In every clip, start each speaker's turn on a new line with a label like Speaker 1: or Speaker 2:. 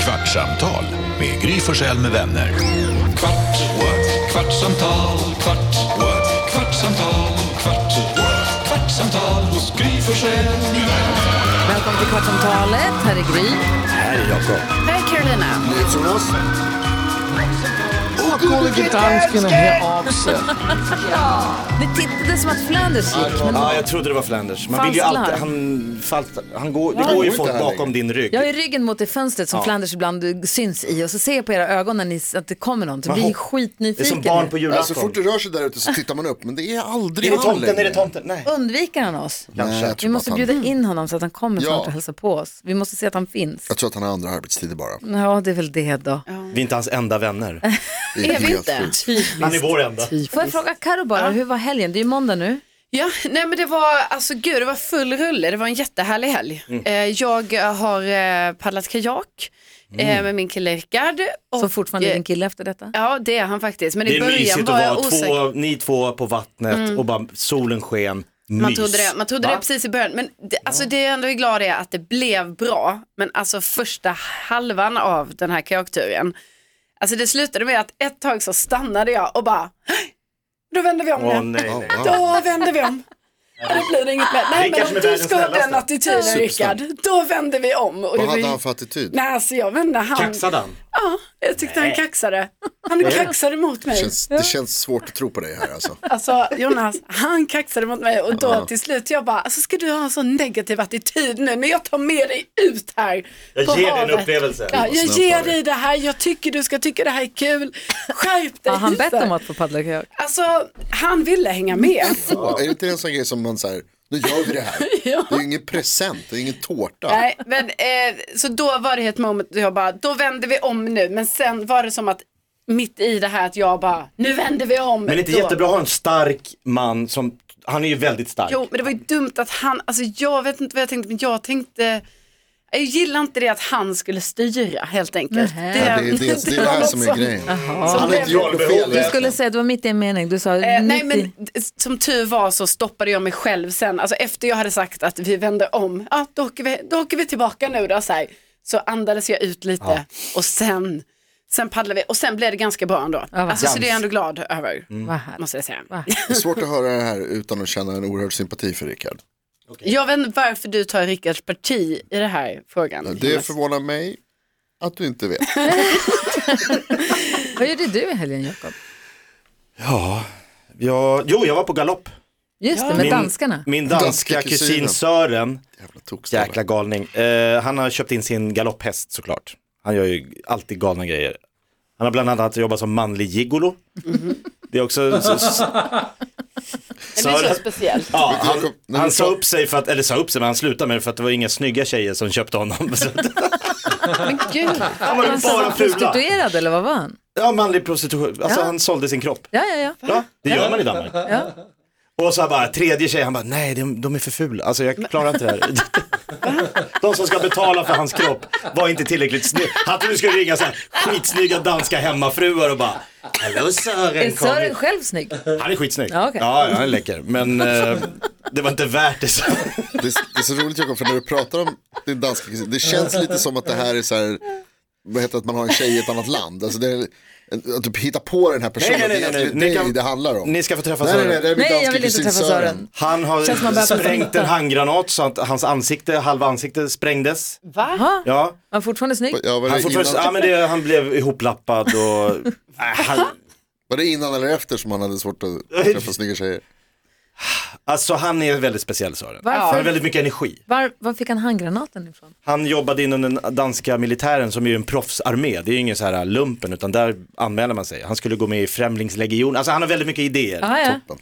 Speaker 1: Kvartsamtal med Gry Forssell med vänner.
Speaker 2: Kvart, what? kvartsamtal, kvart, what? kvartsamtal, kvart, what? kvartsamtal hos Gry Forssell med vänner.
Speaker 3: Välkommen till Kvartsamtalet. Här är Gry.
Speaker 4: Här är Jakob.
Speaker 3: Här är Carolina.
Speaker 4: Gullige dansken hör av sig.
Speaker 3: Det tittade som att Flanders gick. Men
Speaker 4: Ja, jag trodde det var Flanders. Man vill ju
Speaker 3: Falslar.
Speaker 4: alltid, han, falt, han går, det går ju folk bakom din rygg.
Speaker 3: jag har ju ryggen mot det fönstret som Flanders ibland syns i och så ser jag på era ögon när ni, att det kommer någon. Så
Speaker 4: Man
Speaker 3: blir jag
Speaker 4: hopp- Det är
Speaker 3: skitnyfiken.
Speaker 4: som barn på
Speaker 5: Ja, så Alltså, fort
Speaker 4: julafton.
Speaker 5: det rör sig där ute så tittar man upp, men det är aldrig
Speaker 4: Är det
Speaker 5: han
Speaker 4: tomten,
Speaker 5: längre.
Speaker 4: är det tomten? Nej.
Speaker 3: Undviker han oss?
Speaker 5: Nej, jag
Speaker 3: Vi
Speaker 5: tror
Speaker 3: måste
Speaker 5: att
Speaker 3: bjuda
Speaker 5: han,
Speaker 3: in honom så att han kommer
Speaker 5: Ja.
Speaker 3: snart och hälsar på oss. Vi måste se att han finns.
Speaker 5: Jag tror att han har andra arbetstider bara.
Speaker 3: Ja, det är väl det då.
Speaker 4: Vi är inte hans enda vänner.
Speaker 5: Det är helt sjukt.
Speaker 4: Han är vår enda.
Speaker 3: Får jag fråga Karo bara, hur var helgen? Det är ju måndag nu.
Speaker 6: Ja, nej men det var, alltså gud det var full rulle, det var en jättehärlig helg.
Speaker 4: Mm.
Speaker 6: Eh, jag har eh, paddlat kajak
Speaker 4: Mm.
Speaker 6: eh, med min kille Rickard. och-
Speaker 3: Som fortfarande är
Speaker 6: eh,
Speaker 3: din kille efter detta.
Speaker 6: Ja det är han faktiskt, men
Speaker 4: Det
Speaker 6: i
Speaker 4: är
Speaker 6: början
Speaker 4: mysigt
Speaker 6: var jag
Speaker 4: att vara
Speaker 6: osäker. Mm.
Speaker 4: två, ni två på vattnet och bara solen sken. Mys.
Speaker 6: Man trodde det, man trodde
Speaker 4: Va?
Speaker 6: det precis i början, men det, alltså, det jag ändå är glad är att det blev bra. Men alltså första halvan av den här kajakturen, alltså det slutade med att ett tag så stannade jag och bara, "Hej, då vänder vi om
Speaker 4: Åh
Speaker 6: nu.
Speaker 4: nej, nej.
Speaker 6: Då vänder vi om. Då blir det inget mer. Nej,
Speaker 4: Det är
Speaker 6: men
Speaker 4: kanske
Speaker 6: om
Speaker 4: med
Speaker 6: du
Speaker 4: världens
Speaker 6: ska ha den
Speaker 4: snällaste.
Speaker 6: attityden Rickard, då vänder vi om. Och
Speaker 5: Vad
Speaker 6: det var ju-
Speaker 5: hade han för attityd?
Speaker 6: Nej, alltså jag vände han.
Speaker 4: Kaxade han?
Speaker 6: Ja, jag tyckte han kaxade. Han kaxade mot
Speaker 5: Det
Speaker 6: mig.
Speaker 5: känns, det känns svårt att tro på dig här alltså.
Speaker 6: Alltså Jonas, han kaxade mot mig och då till slut jag bara, alltså ska du ha en sån negativ attityd nu när jag tar med dig ut här
Speaker 4: Jag
Speaker 6: på
Speaker 4: ger dig en
Speaker 6: havet.
Speaker 4: upplevelse.
Speaker 6: Ja, jag
Speaker 5: snällt
Speaker 6: ger
Speaker 5: av dig.
Speaker 6: dig det här, jag tycker du ska tycka det här är kul. Skärp dig.
Speaker 3: Har han bett
Speaker 6: så här.
Speaker 3: om att få paddla kajak?
Speaker 6: Alltså, han ville hänga med.
Speaker 5: Ja, är det inte en sån grej som man säger, nu gör vi det här. Det är ju ingen present, det är ingen tårta.
Speaker 6: Nej, men eh, så då var det ett moment då jag bara, då vänder vi om nu. Men sen var det som att mitt i det här att jag bara, nu vänder vi om.
Speaker 4: Men inte
Speaker 6: då.
Speaker 4: jättebra att ha en stark man som, han är ju väldigt stark.
Speaker 6: Jo, men det var ju dumt att han, alltså jag vet inte vad jag tänkte, men jag tänkte, jag gillar inte det att han skulle styra helt enkelt.
Speaker 3: Nähä.
Speaker 5: Ja, det, är det, det är det här som är grejen. Han har inte gjort något fel
Speaker 3: Du
Speaker 4: Du
Speaker 5: egentligen.
Speaker 3: skulle säga, det var mitt i en mening. Du sa
Speaker 6: Eh,
Speaker 3: mitt
Speaker 6: nej men
Speaker 3: i...
Speaker 6: d- som tur var så stoppade jag mig själv sen, alltså efter jag hade sagt att vi vänder om, ja då åker vi, då åker vi tillbaka nu då så här. Så andades jag ut lite och sen, sen paddlade vi och sen blev det ganska bra ändå.
Speaker 3: vad Mm.
Speaker 6: alltså, så det är jag
Speaker 4: härligt.
Speaker 6: ändå glad över,
Speaker 3: Vad härligt.
Speaker 6: måste jag säga.
Speaker 5: Det är svårt att höra det här utan att känna en oerhörd sympati för Rickard.
Speaker 6: Jag vet inte varför du tar Rickards parti i den här frågan.
Speaker 5: Det
Speaker 6: Jonas.
Speaker 5: förvånar mig att du inte vet.
Speaker 3: Vad gjorde du i helgen, Jakob?
Speaker 4: Ja, jag, jo jag var på galopp.
Speaker 3: Just det, med danskarna.
Speaker 4: Min danska,
Speaker 5: Danska
Speaker 4: kusin,
Speaker 5: kusin.
Speaker 4: Sören,
Speaker 5: Jävla tokstolle.
Speaker 4: jäkla galning, eh, han har köpt in sin galopphäst såklart. Han gör ju alltid galna grejer. Han har bland annat jobbat som manlig gigolo.
Speaker 3: Mhm.
Speaker 4: Det är också... s- s-
Speaker 6: Det blir så
Speaker 4: Sören-
Speaker 6: speciellt.
Speaker 4: Ja,
Speaker 5: Jakob,
Speaker 4: han,
Speaker 5: när
Speaker 4: han
Speaker 5: du
Speaker 4: sa
Speaker 5: sa-
Speaker 4: upp sig, för att, eller sa upp sig, men han slutade med det för att det var inga snygga tjejer som köpte honom. Så att-
Speaker 3: Men gud,
Speaker 4: Han var ju
Speaker 3: alltså, var
Speaker 4: bara
Speaker 3: han
Speaker 4: fula.
Speaker 3: prostituerad eller vad var han?
Speaker 4: Ja, manlig prostitution. Alltså
Speaker 3: Ja.
Speaker 4: han sålde sin kropp.
Speaker 3: Ja, ja, ja.
Speaker 4: Ja, det gör man i Danmark. Och så bara, tredje tjej, han bara, nej de, de är för fula, alltså jag klarar inte det här. De som ska betala för hans kropp var inte tillräckligt snygga. Han trodde du skulle ringa så här skitsnygga danska hemmafruar och bara, hallå
Speaker 3: Är
Speaker 4: Sören, kom
Speaker 3: Sören
Speaker 4: hit."
Speaker 3: själv snygg?
Speaker 4: Han är skitsnygg.
Speaker 3: Ja, okej.
Speaker 4: ja, ja, han är läcker. Men eh, det var inte värt det. Så.
Speaker 5: Det, det är så roligt Jakob, för när du pratar om din danska kusin, det känns lite som att det här är så här, vad heter det, att man har en tjej i ett annat land. Alltså det är, att du hittar på den här personen,
Speaker 4: Nej, nej, nej,
Speaker 5: det är
Speaker 4: nej,
Speaker 5: egentligen
Speaker 4: nej. Ni
Speaker 5: dig
Speaker 4: kan-
Speaker 5: det handlar om.
Speaker 4: Ni ska få träffa
Speaker 5: nej, nej, nej, det är min
Speaker 3: Nej, jag
Speaker 5: danska
Speaker 3: vill inte
Speaker 5: kusin
Speaker 3: träffa
Speaker 5: Sören.
Speaker 3: Sören.
Speaker 4: Han
Speaker 3: Känns man
Speaker 4: har
Speaker 3: bara för-
Speaker 4: sprängt en handgranat så att hans ansikte, halva ansiktet sprängdes.
Speaker 6: Va?
Speaker 3: Ja,
Speaker 4: Ja.
Speaker 3: han är fortfarande snygg.
Speaker 5: Ja, var, det
Speaker 4: Han, får
Speaker 5: innan,
Speaker 4: först, ja, men det, han blev ihoplappad och... Äh, han,
Speaker 5: var det innan eller efter som han hade svårt att träffa snygga tjejer?
Speaker 4: Alltså han är väldigt speciell Sören.
Speaker 3: Varför?
Speaker 4: Han har väldigt mycket energi.
Speaker 3: Var, var fick han handgranaten ifrån?
Speaker 4: Han jobbade inom den danska militären som är ju en proffsarmé. Det är ju ingen så här lumpen utan där anmäler man sig. Han skulle gå med i Främlingslegionen. Alltså han har väldigt mycket idéer.
Speaker 3: Ah, ja.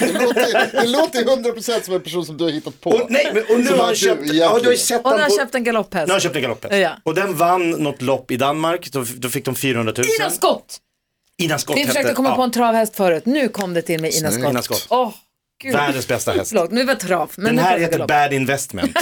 Speaker 5: Det låter- Det låter ju 100% som en person som du har hittat på.
Speaker 4: Och, nej, men, och nu
Speaker 5: Som
Speaker 4: har
Speaker 5: han
Speaker 4: han köpt, ja,
Speaker 5: ju
Speaker 4: du har ju
Speaker 5: egentligen.
Speaker 4: sett
Speaker 3: Och nu har
Speaker 4: han
Speaker 3: han
Speaker 4: på,
Speaker 3: köpt en galopphäst.
Speaker 4: nu har han köpt en galopphäst.
Speaker 3: Ja.
Speaker 4: Och den vann något lopp i Danmark. Då, då fick de 400 000.
Speaker 3: Ina Skott!
Speaker 4: Ina Skott
Speaker 3: Vi försökte komma
Speaker 4: ja,
Speaker 3: på en travhäst förut. Nu kom det till med Ina
Speaker 5: Snyggt.
Speaker 3: Skott.
Speaker 4: Ina Skott.
Speaker 3: Åh, gud.
Speaker 4: Världens bästa häst.
Speaker 3: Förlåt, nu var det trav. Men
Speaker 4: Den
Speaker 3: nu
Speaker 4: här
Speaker 3: pratar
Speaker 4: heter
Speaker 3: galopp.
Speaker 4: Bad Investment.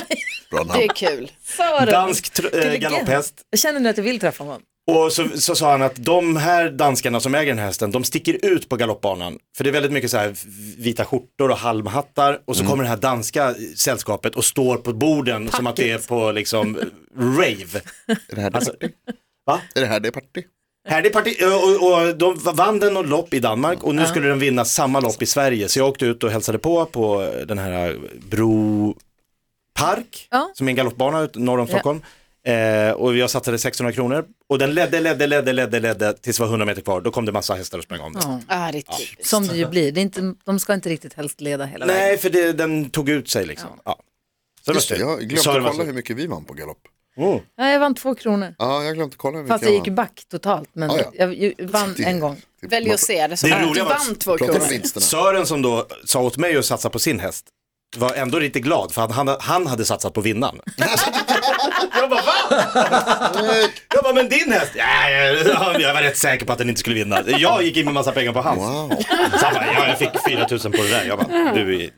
Speaker 5: Bra
Speaker 6: Det är
Speaker 5: namn.
Speaker 6: kul.
Speaker 3: Sören.
Speaker 4: Dansk tr- eh,
Speaker 3: Intelligent.
Speaker 4: galopphäst.
Speaker 3: Jag känner nu att jag vill träffa honom.
Speaker 4: Och så, så sa han att de här danskarna som äger den här hästen, de sticker ut på galoppbanan. För det är väldigt mycket så här vita skjortor och halmhattar och så kommer det här danska sällskapet och står på borden som att det är på liksom rave.
Speaker 5: Är det här det
Speaker 4: Alltså,
Speaker 5: party?
Speaker 4: va?
Speaker 5: Är det här det party?
Speaker 4: Här det parti, Eh, och, och, och de vann den något lopp i Danmark och nu skulle de vinna samma lopp i Sverige. Så jag åkte ut och hälsade på på den här eh, Bro Park,
Speaker 3: Ja.
Speaker 4: som är en galoppbana ut- norr om Stockholm. Eh, och jag satsade 600 kronor och den ledde, ledde, ledde, ledde, ledde tills det var 100 meter kvar. Då kom det massa hästar och sprang om den.
Speaker 6: Ja, det är typiskt.
Speaker 3: Som det ju blir. Det är inte, de ska inte riktigt helst leda hela vägen.
Speaker 4: Nej, för det, den tog ut sig liksom. Ja. Så det var
Speaker 5: Just det,
Speaker 4: synd.
Speaker 5: jag glömde
Speaker 4: Så det var
Speaker 5: kolla
Speaker 4: så-
Speaker 5: hur mycket vi vann på galopp.
Speaker 4: Mm.
Speaker 3: Nej, jag vann två kronor.
Speaker 5: Ja, jag glömde kolla hur mycket
Speaker 3: Fast jag gick
Speaker 5: vann.
Speaker 3: back totalt, men
Speaker 5: Ah, ja.
Speaker 3: jag ju- vann
Speaker 5: Det-
Speaker 3: en gång.
Speaker 5: det-
Speaker 6: Välj att se det som
Speaker 4: Det är
Speaker 6: att du
Speaker 4: roliga var att
Speaker 6: vann två
Speaker 5: Prata om
Speaker 6: kronor.
Speaker 5: vinsterna.
Speaker 4: Sören som då sa åt mig att satsa på sin häst var ändå lite glad för han, han, han hade satsat på vinnaren. jag bara va? Jag bara men din häst? Ja, jag, jag var rätt säker på att den inte skulle vinna. Jag gick in med massa pengar på hans.
Speaker 5: Wow.
Speaker 4: Så han bara, ja jag fick 4000 på det där. Jag bara du är...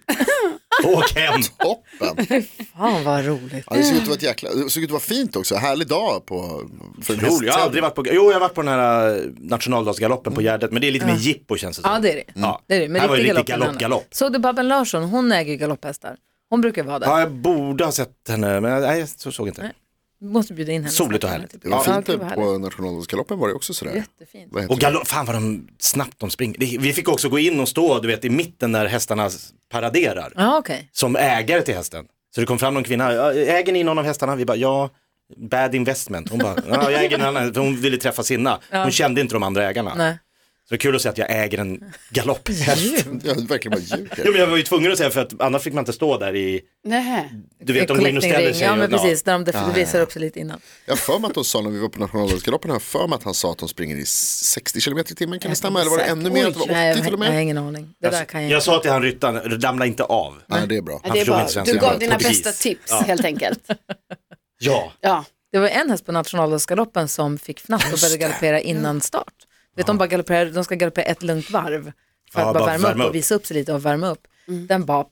Speaker 4: Åk hem.
Speaker 5: Toppen.
Speaker 3: Fan vad roligt.
Speaker 5: Ja, det såg ut att vara ett jäkla, det såg ut att vara fint också, härlig dag på, för
Speaker 4: Roligt,
Speaker 5: en
Speaker 4: jag har
Speaker 5: hästtävling.
Speaker 4: aldrig varit på, jo jag har varit på den här eh, nationaldagsgaloppen på Gärdet men det är lite mer jippo känns det som.
Speaker 3: Ja, det är det.
Speaker 4: Ja.
Speaker 3: det, är det. Men
Speaker 4: här var det
Speaker 3: riktig
Speaker 4: riktigt
Speaker 3: galopp,
Speaker 4: galopp, galopp.
Speaker 3: Såg du Babben Larsson? Hon äger ju galopphästar. Hon brukar vara där.
Speaker 4: Ja, jag borde ha sett henne men nej jag så- såg inte.
Speaker 3: Vi måste bjuda in henne.
Speaker 4: Soligt och
Speaker 3: snart.
Speaker 4: härligt.
Speaker 5: Det var
Speaker 3: Ja,
Speaker 5: fint
Speaker 3: gud, vad härligt.
Speaker 5: på nationaldagsgaloppen var det också sådär.
Speaker 3: Jättefint.
Speaker 5: Vad heter
Speaker 4: Och galopp, fan vad de snabbt de springer. Det- Vi fick också gå in och stå du vet, i mitten när hästarna s- paraderar.
Speaker 3: Ja, okej.
Speaker 4: Som ägare till hästen. Så det kom fram någon kvinna, "Ja, äger ni någon av hästarna? Vi bara, ja, bad investment. Hon bara, ja jag äger en annan, för hon ville träffa sina. Hon kände inte de andra ägarna.
Speaker 3: Nej.
Speaker 4: Så det är kul att säga att jag äger en galopphäst.
Speaker 5: det? Jag verkligen bara ljuger.
Speaker 4: Jo men jag var ju tvungen att säga för att annars fick man inte stå där i,
Speaker 6: Nej.
Speaker 4: du vet de går in och ställer sig.
Speaker 3: Ja, men
Speaker 4: och- ja.
Speaker 3: precis. När de def- visar upp sig lite innan.
Speaker 5: Jag har för mig att de sa när vi var på nationaldagsgaloppen, jag har för mig att han sa att de springer i 60 km i timmen, kan det stämma? Eller var det ännu mer? Att det var
Speaker 3: Nej,
Speaker 5: 80 till och
Speaker 3: jag, jag har
Speaker 5: med?
Speaker 3: ingen aning. Det där kan jag,
Speaker 4: Alltså, Jag sa till han ryttaren, ramla inte av.
Speaker 5: Nej, det är bra.
Speaker 6: Ja, det är
Speaker 4: förstod
Speaker 6: bra.
Speaker 4: inte svenska.
Speaker 6: Du gav dina
Speaker 4: Portugis.
Speaker 6: bästa tips
Speaker 4: Ja.
Speaker 6: helt enkelt.
Speaker 4: Ja.
Speaker 6: Ja.
Speaker 3: Det var en häst på nationaldagsgaloppen som fick fnatt och började galoppera innan start. Vet, de, bara galopperar, de ska galoppera ett lugnt varv för att
Speaker 4: Ja,
Speaker 3: bara värma upp och visa upp sig lite och värma upp. Den bara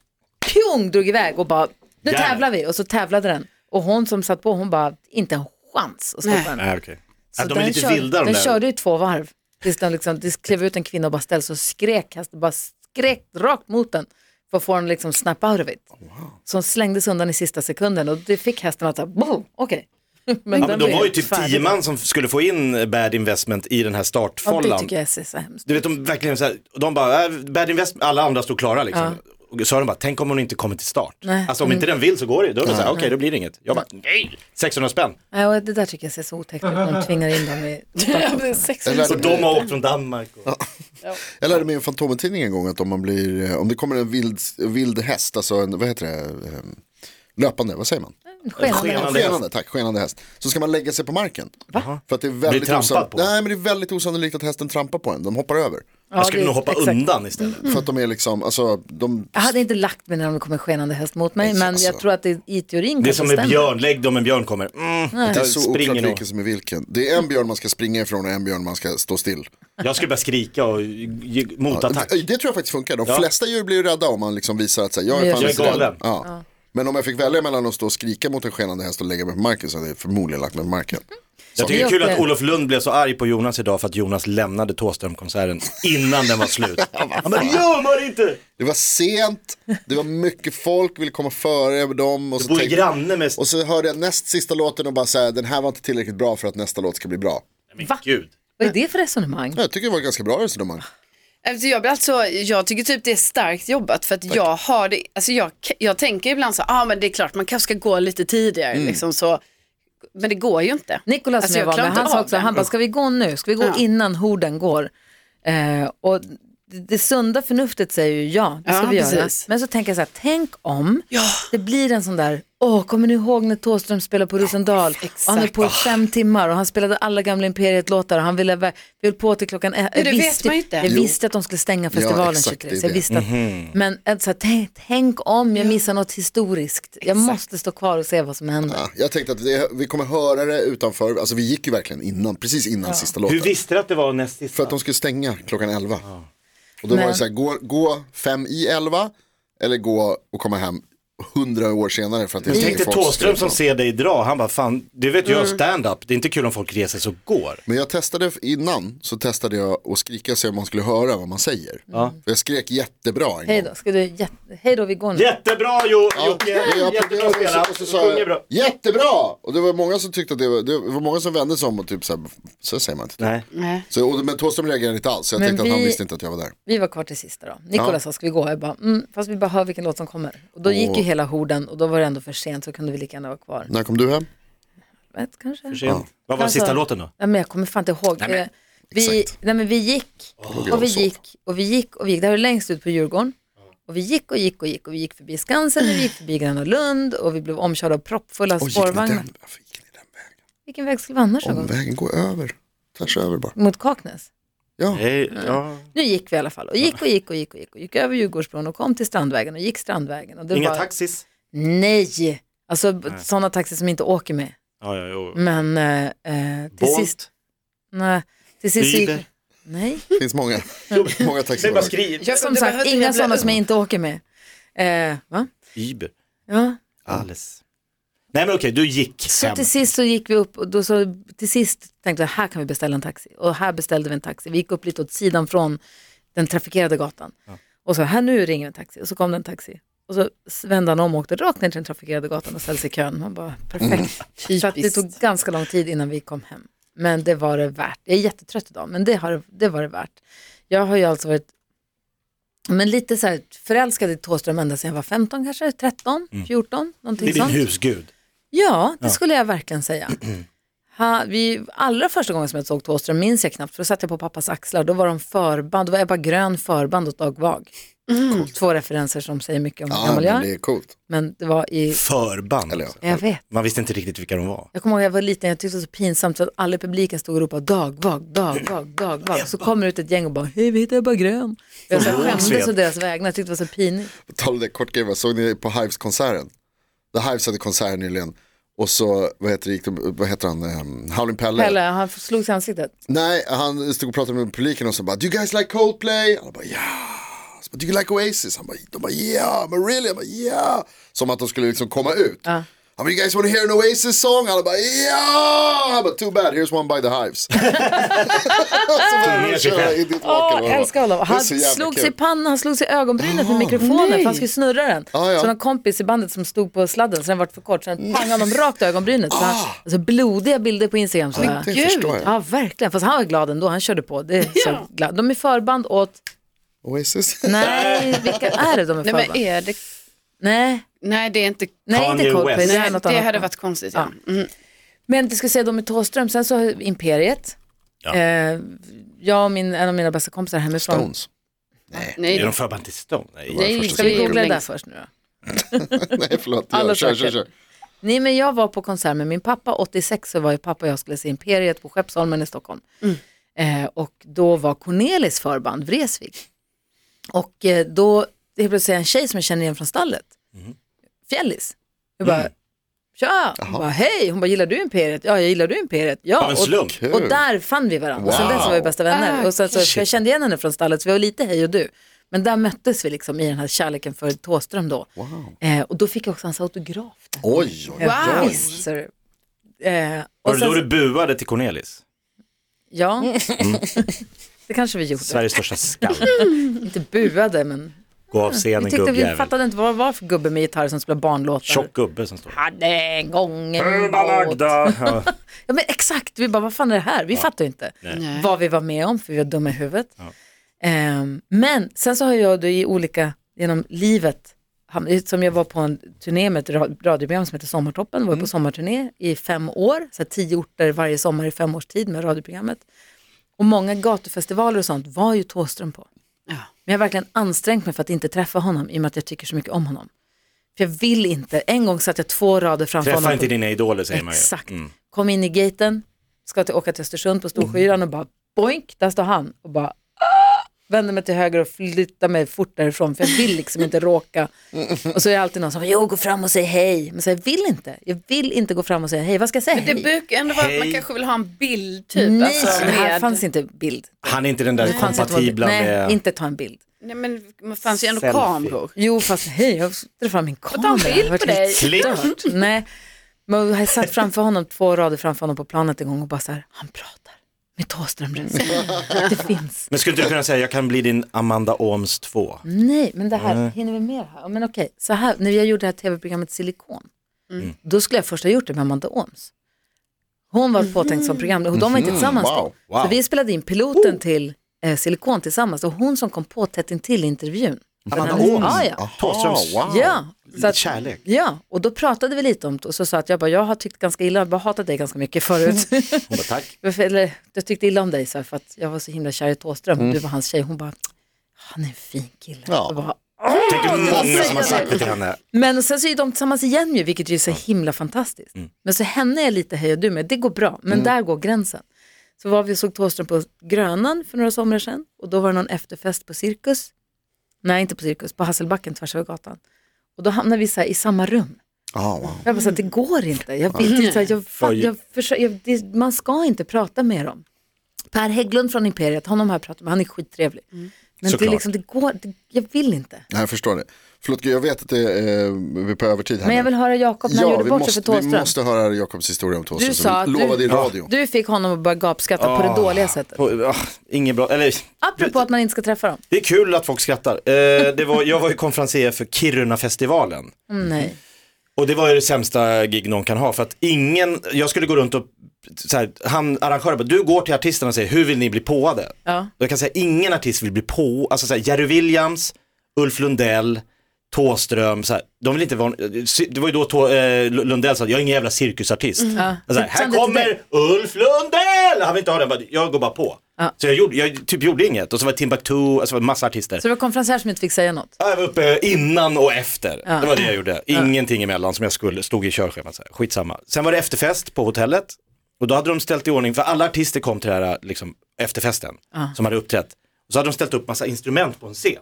Speaker 3: pjong drog iväg och bara nu
Speaker 4: Jävlar.
Speaker 3: tävlar vi och så tävlade den. Och hon som satt på hon bara inte en chans att stoppa
Speaker 6: Nej.
Speaker 3: den.
Speaker 4: Nej, okej.
Speaker 3: Så
Speaker 4: Ja, de
Speaker 3: den
Speaker 4: är lite
Speaker 3: körde,
Speaker 4: vilda de
Speaker 3: Den
Speaker 4: där.
Speaker 3: körde ju två varv. Tills den liksom, det klev ut en kvinna och bara ställde sig och skrek, hästen bara skrek rakt mot den för att få den liksom snap out of it.
Speaker 4: Oh,
Speaker 3: Så hon slängdes undan i sista sekunden och det fick hästen att säga, okej. Men
Speaker 4: Ja, men de var ju
Speaker 3: helt
Speaker 4: typ
Speaker 3: färdig.
Speaker 4: tio man som skulle få in bad investment i den här
Speaker 3: Ja, det
Speaker 4: startfållan.
Speaker 3: tycker jag är så hemskt.
Speaker 4: du vet de verkligen så här, och de bara, äh, bad investment, alla andra stod klara liksom. Och så har de bara, tänk om hon inte kommer till start.
Speaker 3: Nej. Mm.
Speaker 4: Alltså om inte den vill så går det, då är det så här, okej då blir det inget. Jag bara, nej, 600 spänn.
Speaker 3: Nej, och det där tycker jag ser så otäckt ut, när de tvingar in dem i...
Speaker 5: Jag lärde,
Speaker 4: Och de
Speaker 5: mig,
Speaker 4: har åkt från Danmark. Och...
Speaker 5: jag lärde mig i en Fantomen-tidning en gång att om man blir, eh, om det kommer en vild, vild häst, alltså en, vad heter det, eh, löpande, vad säger man?
Speaker 3: Skenande.
Speaker 4: Skenande.
Speaker 5: Skenande, tack, skenande häst. Så ska man lägga sig på marken. För att det är väldigt,
Speaker 4: trampad
Speaker 5: osann-
Speaker 4: på.
Speaker 5: Nej, men det är väldigt osannolikt att hästen trampar på en, de hoppar över.
Speaker 3: Ja,
Speaker 4: Jag skulle
Speaker 3: det-
Speaker 4: nog hoppa
Speaker 3: exakt.
Speaker 4: undan istället.
Speaker 5: För att de är liksom, alltså, de
Speaker 3: Jag hade inte lagt mig när de kom en skenande häst mot mig, men jag
Speaker 5: Alltså.
Speaker 3: tror att det i teorin
Speaker 4: Det är
Speaker 3: kanske
Speaker 4: som med
Speaker 3: stämmer.
Speaker 4: björn, lägg dem en björn kommer. Mm,
Speaker 5: Det är
Speaker 4: jag
Speaker 5: så oklart
Speaker 4: springer nog.
Speaker 5: vilken som är vilken. Det är en björn man ska springa ifrån och en björn man ska stå still.
Speaker 4: Jag skulle börja skrika och ge- motattack.
Speaker 5: Det, det tror jag faktiskt funkar. De
Speaker 4: Ja.
Speaker 5: flesta djur blir ju rädda om man liksom visar att så här, jag är
Speaker 3: Jag
Speaker 5: fan
Speaker 3: är
Speaker 5: inte
Speaker 4: galen.
Speaker 5: rädd. Ja. Men om jag fick välja mellan att stå och skrika mot en skenande häst och lägga mig på marken så hade jag förmodligen lagt mig på marken.
Speaker 4: Jag tycker det är kul
Speaker 3: Just
Speaker 4: att
Speaker 3: det.
Speaker 4: Olof Lund blev så arg på Jonas idag för att Jonas lämnade Thåströmkonserten innan den var slut. Han bara, det gör man inte!
Speaker 5: Det var sent, det var mycket folk, ville komma före dem. Och
Speaker 4: Du
Speaker 5: så,
Speaker 4: bor ju
Speaker 5: tänkte-
Speaker 4: granne med...
Speaker 5: och så hörde jag näst sista låten och bara så här, den här var inte tillräckligt bra för att nästa låt ska bli bra.
Speaker 4: Men
Speaker 3: Va?
Speaker 4: gud.
Speaker 3: Vad är det för resonemang?
Speaker 5: Jag tycker det var ett ganska bra resonemang.
Speaker 6: Alltså jag, blir alltså, jag tycker typ det är starkt jobbat för att jag har det, alltså jag, jag tänker ibland så, ja ah, men det är klart man kanske ska gå lite tidigare
Speaker 4: Mm.
Speaker 6: liksom så, men det går ju inte.
Speaker 3: Nikolas
Speaker 6: Alltså,
Speaker 3: som jag
Speaker 6: jag
Speaker 3: var
Speaker 6: klarar
Speaker 3: med,
Speaker 6: inte
Speaker 3: han sa
Speaker 6: av
Speaker 3: också,
Speaker 6: det.
Speaker 3: han bara, ska vi gå nu? Ska vi gå
Speaker 6: Ja.
Speaker 3: innan horden går? Eh, och det, det sunda förnuftet säger ju ja, det ska
Speaker 6: Ja,
Speaker 3: vi göra.
Speaker 6: precis.
Speaker 3: Men så tänker jag så här, tänk om det blir en sån där, åh, kommer ni ihåg när Thåström spelade på Rosendal? och han höll på i fem timmar och han spelade alla gamla Imperiet-låtar och han ville, vi höll på till klockan ett. Jag
Speaker 6: Men det vet
Speaker 3: visste-
Speaker 6: man ju inte.
Speaker 3: Jag
Speaker 5: Jo.
Speaker 3: visste att de skulle stänga festivalen
Speaker 5: exakt,
Speaker 3: 23,
Speaker 5: det är
Speaker 3: så jag
Speaker 5: det. Mhm.
Speaker 3: visste att, men ett så här, tänk, tänk om jag missar något historiskt. Jag måste stå kvar och se vad som händer.
Speaker 5: Ja, jag tänkte att det, vi kommer höra det utanför, alltså vi gick ju verkligen innan, precis innan sista låten.
Speaker 4: Hur visste du att det var näst
Speaker 5: För
Speaker 4: sista?
Speaker 5: att de skulle stänga klockan 11. Och då var
Speaker 3: Men-
Speaker 5: det så här, gå, gå fem i 11 eller gå och komma hem 100 hundra år senare för att det är
Speaker 4: Tänk dig
Speaker 5: folks
Speaker 4: Thåström som
Speaker 5: skräp.
Speaker 4: ser dig dra, han bara fan, du vet
Speaker 5: Mm.
Speaker 4: jag stand-up, det är inte kul om folk reser sig och går.
Speaker 5: Men jag testade innan, så testade jag att skrika och se om man skulle höra vad man säger. För jag skrek jättebra en
Speaker 3: Hej
Speaker 5: gång.
Speaker 3: då, ska du, jätte- hej då, vi går nu.
Speaker 4: Jättebra Jo-
Speaker 5: Ja,
Speaker 4: Jocke,
Speaker 5: men jag
Speaker 4: jättebra
Speaker 5: applåderade och så-
Speaker 4: spelat,
Speaker 5: och så
Speaker 4: du
Speaker 5: sa
Speaker 4: sjunger
Speaker 5: jag
Speaker 4: bra.
Speaker 5: jättebra! Och det var många som tyckte att det var, det var många som vände sig om och typ så här, så säger man inte.
Speaker 4: Nej.
Speaker 6: Nej.
Speaker 5: Så, och, men Thåström reagerade inte alls, så jag
Speaker 3: Men
Speaker 5: tänkte att han
Speaker 3: vi-
Speaker 5: visste inte att jag var där.
Speaker 3: Vi var kvar till sista då. Nikola sa, ska vi gå? Jag bara, mm, fast vi bara hör vilken låt som kommer. Och då gick ju hela horden och då var det ändå för sent så kunde vi lika gärna vara
Speaker 4: Mm.
Speaker 3: kvar.
Speaker 5: När kom du hem?
Speaker 3: Vet, kanske?
Speaker 4: För sent. Vad var
Speaker 3: Alltså-
Speaker 4: sista låten då?
Speaker 3: Nej, men jag kommer fan inte ihåg.
Speaker 4: Nej, men,
Speaker 3: Eh, vi,
Speaker 5: exakt.
Speaker 3: nej, men vi gick och vi
Speaker 5: jag såg.
Speaker 3: gick och vi gick och vi gick. Det här var längst ut på Djurgården. Och vi gick och gick och gick och vi gick förbi Skansen och vi gick förbi Gröna Lund och vi blev omkörda av proppfulla
Speaker 5: Och gick ni den,
Speaker 3: spårvagnar.
Speaker 5: varför gick ni den vägen?
Speaker 3: Vilken väg skulle vi annars ha gått?
Speaker 5: Omvägen, gå över. Tvärs över bara.
Speaker 3: Mot Kaknäs.
Speaker 5: Ja.
Speaker 4: Nej, Eh, ja.
Speaker 3: Nu gick vi i alla fall och gick och gick och gick och gick och gick över Djurgårdsbron och kom till Strandvägen och gick Strandvägen. Och det
Speaker 4: Inga
Speaker 3: var,
Speaker 4: taxis?
Speaker 3: Nej, alltså b- sådana taxi som inte åker med.
Speaker 4: Ja, ja,
Speaker 5: Mm.
Speaker 4: jo.
Speaker 3: Men eh, eh, till
Speaker 4: Bolt?
Speaker 3: sist, nej, till sist gick,
Speaker 4: Uber?
Speaker 3: nej,
Speaker 5: Det finns många, många
Speaker 4: Det är bara
Speaker 5: taxibolag.
Speaker 4: skriv.
Speaker 6: Jag-
Speaker 3: som
Speaker 6: det
Speaker 3: sagt
Speaker 6: behövde
Speaker 3: inga
Speaker 6: jag bli-
Speaker 3: sådana som jag inte åker med. Eh, va?
Speaker 4: Iber.
Speaker 3: Ja.
Speaker 4: Alles. Nej men okej, du gick
Speaker 3: Så
Speaker 4: hem.
Speaker 3: till sist så gick vi upp och då så, till sist tänkte jag här kan vi beställa en taxi och här beställde vi en taxi. Vi gick upp lite åt sidan från den trafikerade gatan och så här nu ringer en taxi och så kom det en taxi. Och så vände han om och åkte rakt ner till den trafikerade gatan och ställde sig i kön. Man bara,
Speaker 4: Mm.
Speaker 3: perfekt. Så att det tog ganska lång tid innan vi kom hem. Men det var det värt. Jag är jättetrött idag, men det, har, det var det värt. Jag har ju alltså varit men lite så här förälskad i Thåström ända sedan jag var 15 kanske, 13, 14, någonting
Speaker 4: Mm. Det är din
Speaker 3: sånt.
Speaker 4: husgud.
Speaker 3: Ja, det skulle jag verkligen säga. Ha, vi, allra första gången som jag såg Thåström minns jag knappt, för då satt jag på pappas axlar. Då var de förband, då var Ebba Grön förband åt Dag Vag. Två referenser som säger mycket om hur
Speaker 5: Ja,
Speaker 3: gammal jag
Speaker 5: men
Speaker 3: är.
Speaker 5: det är coolt.
Speaker 3: Men det var i,
Speaker 4: Förband.
Speaker 5: Eller ja.
Speaker 3: jag vet.
Speaker 4: Man visste inte riktigt vilka de var.
Speaker 3: Jag kommer ihåg jag var liten, jag tyckte det var så pinsamt så att alla i publiken stod och ropade dag, vag, dag, vag, dag, vag. Så kommer det ut ett gäng och bara, hej vi heter Ebba Grön. Jag så här skämdes å deras vägnar, jag tyckte det var så pinigt.
Speaker 5: På tal om det, kort grej, bara, såg ni på Hives-konserten? The Hives hade konsert nyligen. Och så, vad heter, det, gick de, vad heter han, um, Howlin' Pelle.
Speaker 3: Pelle, han slogs i ansiktet.
Speaker 5: Nej, han stod och pratade med publiken och så bara, do you guys like Coldplay? Han bara, ja. Så bara, Do you like Oasis? Han bara, de bara, yeah, men really? Han bara, yeah. Som att de skulle liksom komma ut. Han bara, you guys want to hear an Oasis song? Han bara, yeah. Han bara, too bad, here's one by the Hives. så började de köra Idiotwalker.
Speaker 3: Åh, jag älskar honom. Han slog sig i pannan, han slog sig i ögonbrynet med mikrofonen för han skulle snurra den.
Speaker 5: Ja, ja.
Speaker 3: Så en kompis i bandet som stod på sladden så den vart för kort så den pangade honom rakt i ögonbrynet. Så han, alltså, blodiga bilder på Instagram. Så
Speaker 5: Det förstår jag.
Speaker 3: Ja, verkligen. Fast han var glad ändå, han körde på. Det är så glad. De är förband åt,
Speaker 5: Oasis.
Speaker 3: nej, vilka är det de är
Speaker 6: Nej,
Speaker 3: förband?
Speaker 6: men är det...
Speaker 3: Nej,
Speaker 6: Nej, det är inte...
Speaker 3: nej
Speaker 4: Kanye
Speaker 3: inte Coldplay,
Speaker 4: West.
Speaker 3: det
Speaker 6: Nej,
Speaker 3: är något
Speaker 6: det
Speaker 3: annat.
Speaker 6: hade varit konstigt. Ja. Mm.
Speaker 3: Men det ska säga de med Thåström, sen så har Imperiet. Eh, jag och min, en av mina bästa kompisar hemifrån.
Speaker 5: Stones.
Speaker 6: Nej,
Speaker 4: Är de förband till Stone? Nej.
Speaker 6: Nej,
Speaker 5: första
Speaker 3: Ska vi
Speaker 6: det-
Speaker 3: googla det där först nu då?
Speaker 5: Nej, förlåt.
Speaker 3: Alla
Speaker 5: Ja, kör,
Speaker 3: saker.
Speaker 5: kör, kör.
Speaker 3: Nej men jag var på konsert med min pappa, 86 så var ju pappa och jag skulle se Imperiet på Skeppsholmen i Stockholm. Eh, och då var Cornelis förband Vreeswijk. Och eh, då, det är plötsligt en tjej som jag känner igen från stallet, Fjällis. Jag bara, tja, hon bara hej, hon bara gillar du Imperiet? Ja, jag gillar du Imperiet? Ja,
Speaker 4: Av en slump.
Speaker 3: och, och där fann vi varandra. Sen dess var vi bästa vänner. och sen så, för jag kände igen henne från stallet så vi var lite hej och du. Men där möttes vi liksom i den här kärleken för Thåström då. Eh, och då fick jag också hans autograf.
Speaker 5: Oj, oj,
Speaker 3: Ja,
Speaker 5: oj.
Speaker 3: Visst, så är det. Eh, och
Speaker 4: Var det då
Speaker 3: sen,
Speaker 4: du buade till Cornelis?
Speaker 3: Ja, det kanske vi gjorde.
Speaker 4: Sveriges största skall.
Speaker 3: Inte buade, men
Speaker 4: Gå av
Speaker 3: vi
Speaker 4: scenen
Speaker 3: tyckte vi
Speaker 4: gubbjävel.
Speaker 3: fattade inte vad det var för gubbe med gitarr som spelade barnlåtar.
Speaker 4: Tjock gubbe som står.
Speaker 3: Hade en gång en båt.
Speaker 4: Lagda. Ja.
Speaker 3: Ja, men exakt, vi bara vad fan är det här? Vi fattar ju inte
Speaker 6: Nej.
Speaker 3: vad vi var med om för vi var dumma i huvudet. Ehm, men sen så har jag då i olika, genom livet, ham- som jag var på en turné med ett ra- radioprogram som heter Sommartoppen, var jag på sommarturné i fem år, så här tio orter varje sommar i fem års tid med radioprogrammet. Och många gatufestivaler och sånt var ju Thåström på.
Speaker 6: Ja.
Speaker 3: Men jag har verkligen ansträngt mig för att inte träffa honom i och med att jag tycker så mycket om honom. För jag vill inte, en gång satt jag två rader framför honom.
Speaker 4: Träffa
Speaker 3: på-
Speaker 4: inte dina idoler säger man ju.
Speaker 3: Exakt.
Speaker 4: Mm.
Speaker 3: Kom in i gaten, ska till, åka till Östersund på Storskyran och bara boink, där står han och bara "Ah!" vänder mig till höger och flyttar mig fort därifrån för jag vill liksom inte råka. Och så är det alltid någon som bara, jo gå fram och säg hej, men så jag vill inte, jag vill inte gå fram och säga hej, vad ska jag säga?
Speaker 6: Det
Speaker 3: Hej.
Speaker 6: brukar ändå vara att man
Speaker 4: Hej.
Speaker 6: kanske vill ha en bild typ.
Speaker 3: Nej,
Speaker 6: alltså,
Speaker 3: det här
Speaker 6: med-
Speaker 3: fanns inte bild.
Speaker 4: Han är inte den där
Speaker 3: Det fanns inte-
Speaker 4: kompatibla
Speaker 3: nej,
Speaker 4: med...
Speaker 3: inte ta en bild.
Speaker 6: Nej men det fanns ju ändå
Speaker 4: Selfie.
Speaker 6: kameror.
Speaker 3: Jo, fast hej, jag drar fram min kamera.
Speaker 6: en bild
Speaker 3: Jag har
Speaker 6: på
Speaker 3: varit
Speaker 6: dig.
Speaker 3: helt stört. Nej, men jag satt framför honom, två rader framför honom på planet en gång och bara så här, han pratar med Thåström Det finns.
Speaker 4: Men skulle inte du kunna säga jag kan bli din Amanda Ooms 2?
Speaker 3: Nej, men det här, hinner vi mer här? Ja, Men okej, så här, när jag gjorde det här tv-programmet Silikon,
Speaker 5: Mm.
Speaker 3: då skulle jag först ha gjort det med Amanda Ooms. Hon var påtänkt som programledare och de var inte tillsammans
Speaker 5: Mhm. Wow,
Speaker 3: då.
Speaker 5: wow.
Speaker 3: Så vi spelade in piloten till eh, Silikon tillsammans och hon som kom på tätt intill intervjun.
Speaker 4: Amanda
Speaker 3: Den här-
Speaker 4: Ooms?
Speaker 3: Ja, ja.
Speaker 5: Aha,
Speaker 4: Thåströms-
Speaker 5: wow.
Speaker 3: Ja, så att,
Speaker 4: kärlek.
Speaker 3: Ja, och då pratade vi lite om det och så sa att jag bara, jag har tyckt ganska illa, jag har hatat dig ganska mycket förut.
Speaker 4: Hon bara, tack.
Speaker 3: Varför- Eller, jag tyckte illa om dig så här, för att jag var så himla kär i Thåström och du var hans tjej. Hon bara, han är en fin kille.
Speaker 5: Ja.
Speaker 3: Jag bara,
Speaker 4: Tänk hur många som
Speaker 3: säger
Speaker 4: har sagt det till henne.
Speaker 3: men sen så är de tillsammans igen ju, vilket ju är så himla fantastiskt. Men så henne är lite hej och du med, det går bra, men där går gränsen. Så var vi och såg Thåström på Grönan för några somrar sedan och då var det någon efterfest på Cirkus. Nej, inte på Cirkus, på Hasselbacken tvärs över gatan. Och då hamnade vi så här i samma rum.
Speaker 5: Ah, wow.
Speaker 3: Jag bara så här, det går inte. Jag vill inte, så här, jag, fatt, jag, försöker, jag, det, man ska inte prata med dem. Per Hägglund från Imperiet, honom har jag pratat med, han är skittrevlig. Men det, är
Speaker 4: Såklart.
Speaker 3: liksom, det går, det, jag vill inte.
Speaker 5: Nej, jag förstår det. Förlåt, jag vet att det är, eh, vi är på övertid här
Speaker 3: Men jag
Speaker 5: nu.
Speaker 3: vill höra Jakob när han
Speaker 5: ja,
Speaker 3: gjorde
Speaker 5: vi
Speaker 3: bort sig för
Speaker 5: måste, vi
Speaker 3: Thåström.
Speaker 5: måste höra Jakobs historia om Thåström
Speaker 3: Du sa
Speaker 5: som
Speaker 3: att
Speaker 5: vi lovade i
Speaker 3: du,
Speaker 5: radio.
Speaker 3: du fick honom att börja gapskratta på det dåliga sättet.
Speaker 4: På- ah, Inget bra, eller
Speaker 3: Apropå att man inte ska träffa dem.
Speaker 4: det är kul att folk skrattar. Eh, det var, jag var ju konferencier för Kirunafestivalen.
Speaker 3: Mm, nej.
Speaker 4: Och det var ju det sämsta gig någon kan ha för att ingen, jag skulle gå runt och så här, han arrangören bara, du går till artisterna och säger hur vill ni bli påade?
Speaker 3: Ja.
Speaker 4: Och jag kan säga ingen artist vill bli på, alltså så här, Jerry Williams, Ulf Lundell, Thåström, så här, de vill inte vara, det var ju då Tå, eh, Lundell sa, jag är ingen jävla cirkusartist.
Speaker 3: Mm.
Speaker 4: Alltså, här, här
Speaker 3: Sen det-
Speaker 4: kommer Ulf Lundell! Han vill inte ha den, bara, jag går bara på.
Speaker 3: Ja.
Speaker 4: Så jag, gjorde, jag typ gjorde inget och så var det Timbuktu, alltså var det massa artister.
Speaker 3: Så det var konferenser som inte fick säga något.
Speaker 4: Ja, Jag var uppe innan och efter. Det var det jag gjorde. Ingenting emellan som jag skulle, stod i körschemat. Så här. Skitsamma. Sen var det efterfest på hotellet. Och då hade de ställt i ordning, för alla artister kom till den här liksom, efterfesten som hade uppträtt. Och så hade de ställt upp massa instrument på en scen.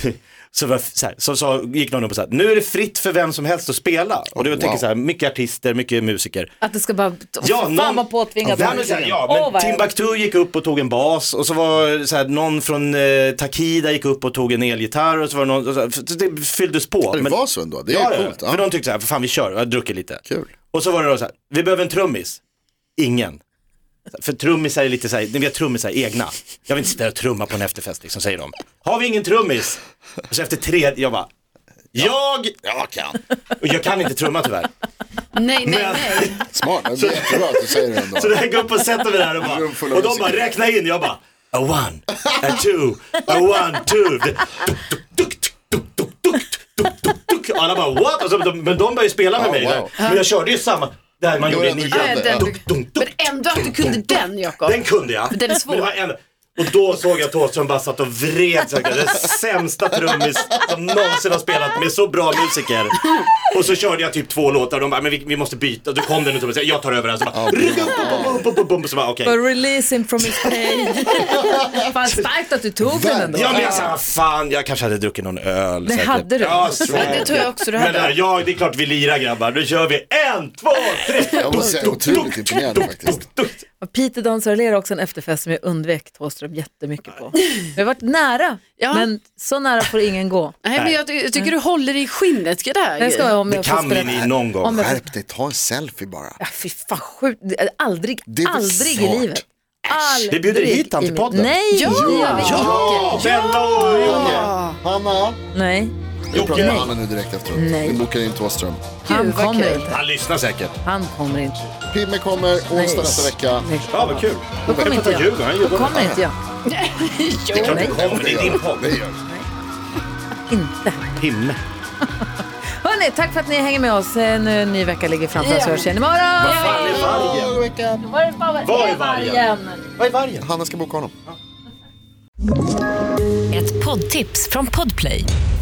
Speaker 4: så, var, så, här, så, så gick någon upp och sa, nu är det fritt för vem som helst att spela. Och det var, tänker
Speaker 5: wow.
Speaker 4: så här, mycket artister, mycket musiker.
Speaker 3: Att det ska bara... Ja, fan
Speaker 4: någon-
Speaker 3: vad påtvingat.
Speaker 4: Ja, men, så här, ja, men
Speaker 3: Åh, vad jag-
Speaker 4: Timbuktu gick upp och tog en bas och så var så här, någon från eh, Takida gick upp och tog en elgitarr och så var det någon, och så här, f- det fylldes på.
Speaker 5: Ja, det
Speaker 4: Men-
Speaker 5: var så ändå, det
Speaker 4: ja,
Speaker 5: är
Speaker 4: ja,
Speaker 5: coolt.
Speaker 4: För
Speaker 5: Ja.
Speaker 4: de tyckte så här, för fan vi kör, jag har druckit lite.
Speaker 5: Kul.
Speaker 4: Och så var det då så här, vi behöver en trummis. Ingen. För trummisar är lite så här, ni vet trummisar är egna. Jag vill inte sitta och trumma på en efterfest liksom, säger de. Har vi ingen trummis? Och så efter tre, jag bara, jag,
Speaker 5: Jag kan.
Speaker 4: och jag kan inte trumma tyvärr.
Speaker 6: Nej, nej,
Speaker 4: Men-
Speaker 6: nej.
Speaker 5: Smart, men det är jättebra att du säger det ändå.
Speaker 4: Så jag gick upp och sätter mig där och, bara,
Speaker 5: Rum full av
Speaker 4: och de
Speaker 5: musik.
Speaker 4: bara räkna in, jag bara a one, a two, a one, two. Det- duk, duk, duk, duk, duk, duk, duk, duk, duk. Alla bara what? Och så, de, men de började ju spela med
Speaker 5: Ja,
Speaker 4: mig
Speaker 5: wow.
Speaker 4: där. Men jag körde ju samma, där man
Speaker 5: Jo,
Speaker 4: gjorde
Speaker 5: jag
Speaker 4: nian.
Speaker 5: tycker
Speaker 6: Nej,
Speaker 5: att det-
Speaker 6: den-
Speaker 4: Dunk, dunk, dunk.
Speaker 6: Men ändå att du kunde den Jakob.
Speaker 4: Den kunde jag.
Speaker 6: Den är svår.
Speaker 4: Men det var en... Och då såg jag Thåström bara satt och vred sig. Den sämsta trummis som någonsin har spelat med så bra musiker. Och så körde jag typ två låtar och de bara, men vi, vi måste byta. Då kom den och sa, jag tar över den. Så bara, "Rugga upp, upp, upp, upp, upp, upp." Så bara, okej.
Speaker 3: Bara release him from his pain. Fan starkt att du tog den ändå.
Speaker 4: Ja men jag sa, fan jag kanske hade druckit någon öl.
Speaker 3: Det
Speaker 4: säkert.
Speaker 3: hade du.
Speaker 4: Ja, säkert.
Speaker 6: Det tror jag också du
Speaker 4: Men där,
Speaker 6: hade.
Speaker 4: ja, det är klart vi lirar grabbar. Nu kör vi en, två, tre.
Speaker 5: Jag måste säga jag är otroligt imponerad faktiskt.
Speaker 3: Och Peter Dansarlera också en efterfest som jag undvek Thåström jättemycket på. Jag har varit nära,
Speaker 6: Ja.
Speaker 3: men så nära får ingen gå.
Speaker 6: Nej, men jag, ty- jag tycker du håller i skinnet. Det här.
Speaker 3: Jag ska, om
Speaker 4: Det
Speaker 3: jag får
Speaker 4: kan
Speaker 3: spela...
Speaker 4: ni någon gång.
Speaker 3: Om jag får
Speaker 5: Skärp dig, ta en selfie bara.
Speaker 3: Ja, fy fan, sjukt. Det- Aldrig,
Speaker 5: Det är väl
Speaker 3: aldrig i
Speaker 5: smart.
Speaker 3: livet.
Speaker 4: Vi bjuder
Speaker 3: Aldrig
Speaker 4: hit han
Speaker 3: i
Speaker 4: till
Speaker 3: mitt-
Speaker 4: podden.
Speaker 3: Nej,
Speaker 6: Ja!
Speaker 3: det gör vi
Speaker 4: Ja, Bella och Jocke.
Speaker 5: Hanna.
Speaker 3: inte. Nej,
Speaker 5: Jag pratar med
Speaker 3: Nej.
Speaker 5: Hanna nu direkt efteråt.
Speaker 3: Nej.
Speaker 5: Vi bokar in Thåström.
Speaker 3: han
Speaker 6: vad
Speaker 3: kommer
Speaker 6: kul.
Speaker 3: inte.
Speaker 4: Han lyssnar säkert.
Speaker 3: Han kommer inte.
Speaker 5: Pimme kommer onsdag nästa vecka.
Speaker 3: Nej.
Speaker 4: Ja, vad kul.
Speaker 3: Då
Speaker 4: Du
Speaker 3: kommer
Speaker 4: får
Speaker 3: inte
Speaker 4: ta
Speaker 3: jag.
Speaker 4: Djurgården, han
Speaker 3: Då
Speaker 4: jobbar med
Speaker 3: kommer inte jag.
Speaker 4: Det är klart
Speaker 3: Nej.
Speaker 4: du kommer, det är din podd.
Speaker 5: Det gör vi.
Speaker 3: Inte.
Speaker 4: Himme.
Speaker 3: Hörrni, tack för att ni hänger med oss. En, en ny vecka ligger framför oss. Vi hörs igen imorgon.
Speaker 4: Fan, det är vargen. Var är vargen? Var är vargen?
Speaker 5: Hanna ska boka honom.
Speaker 7: Ett poddtips från Podplay.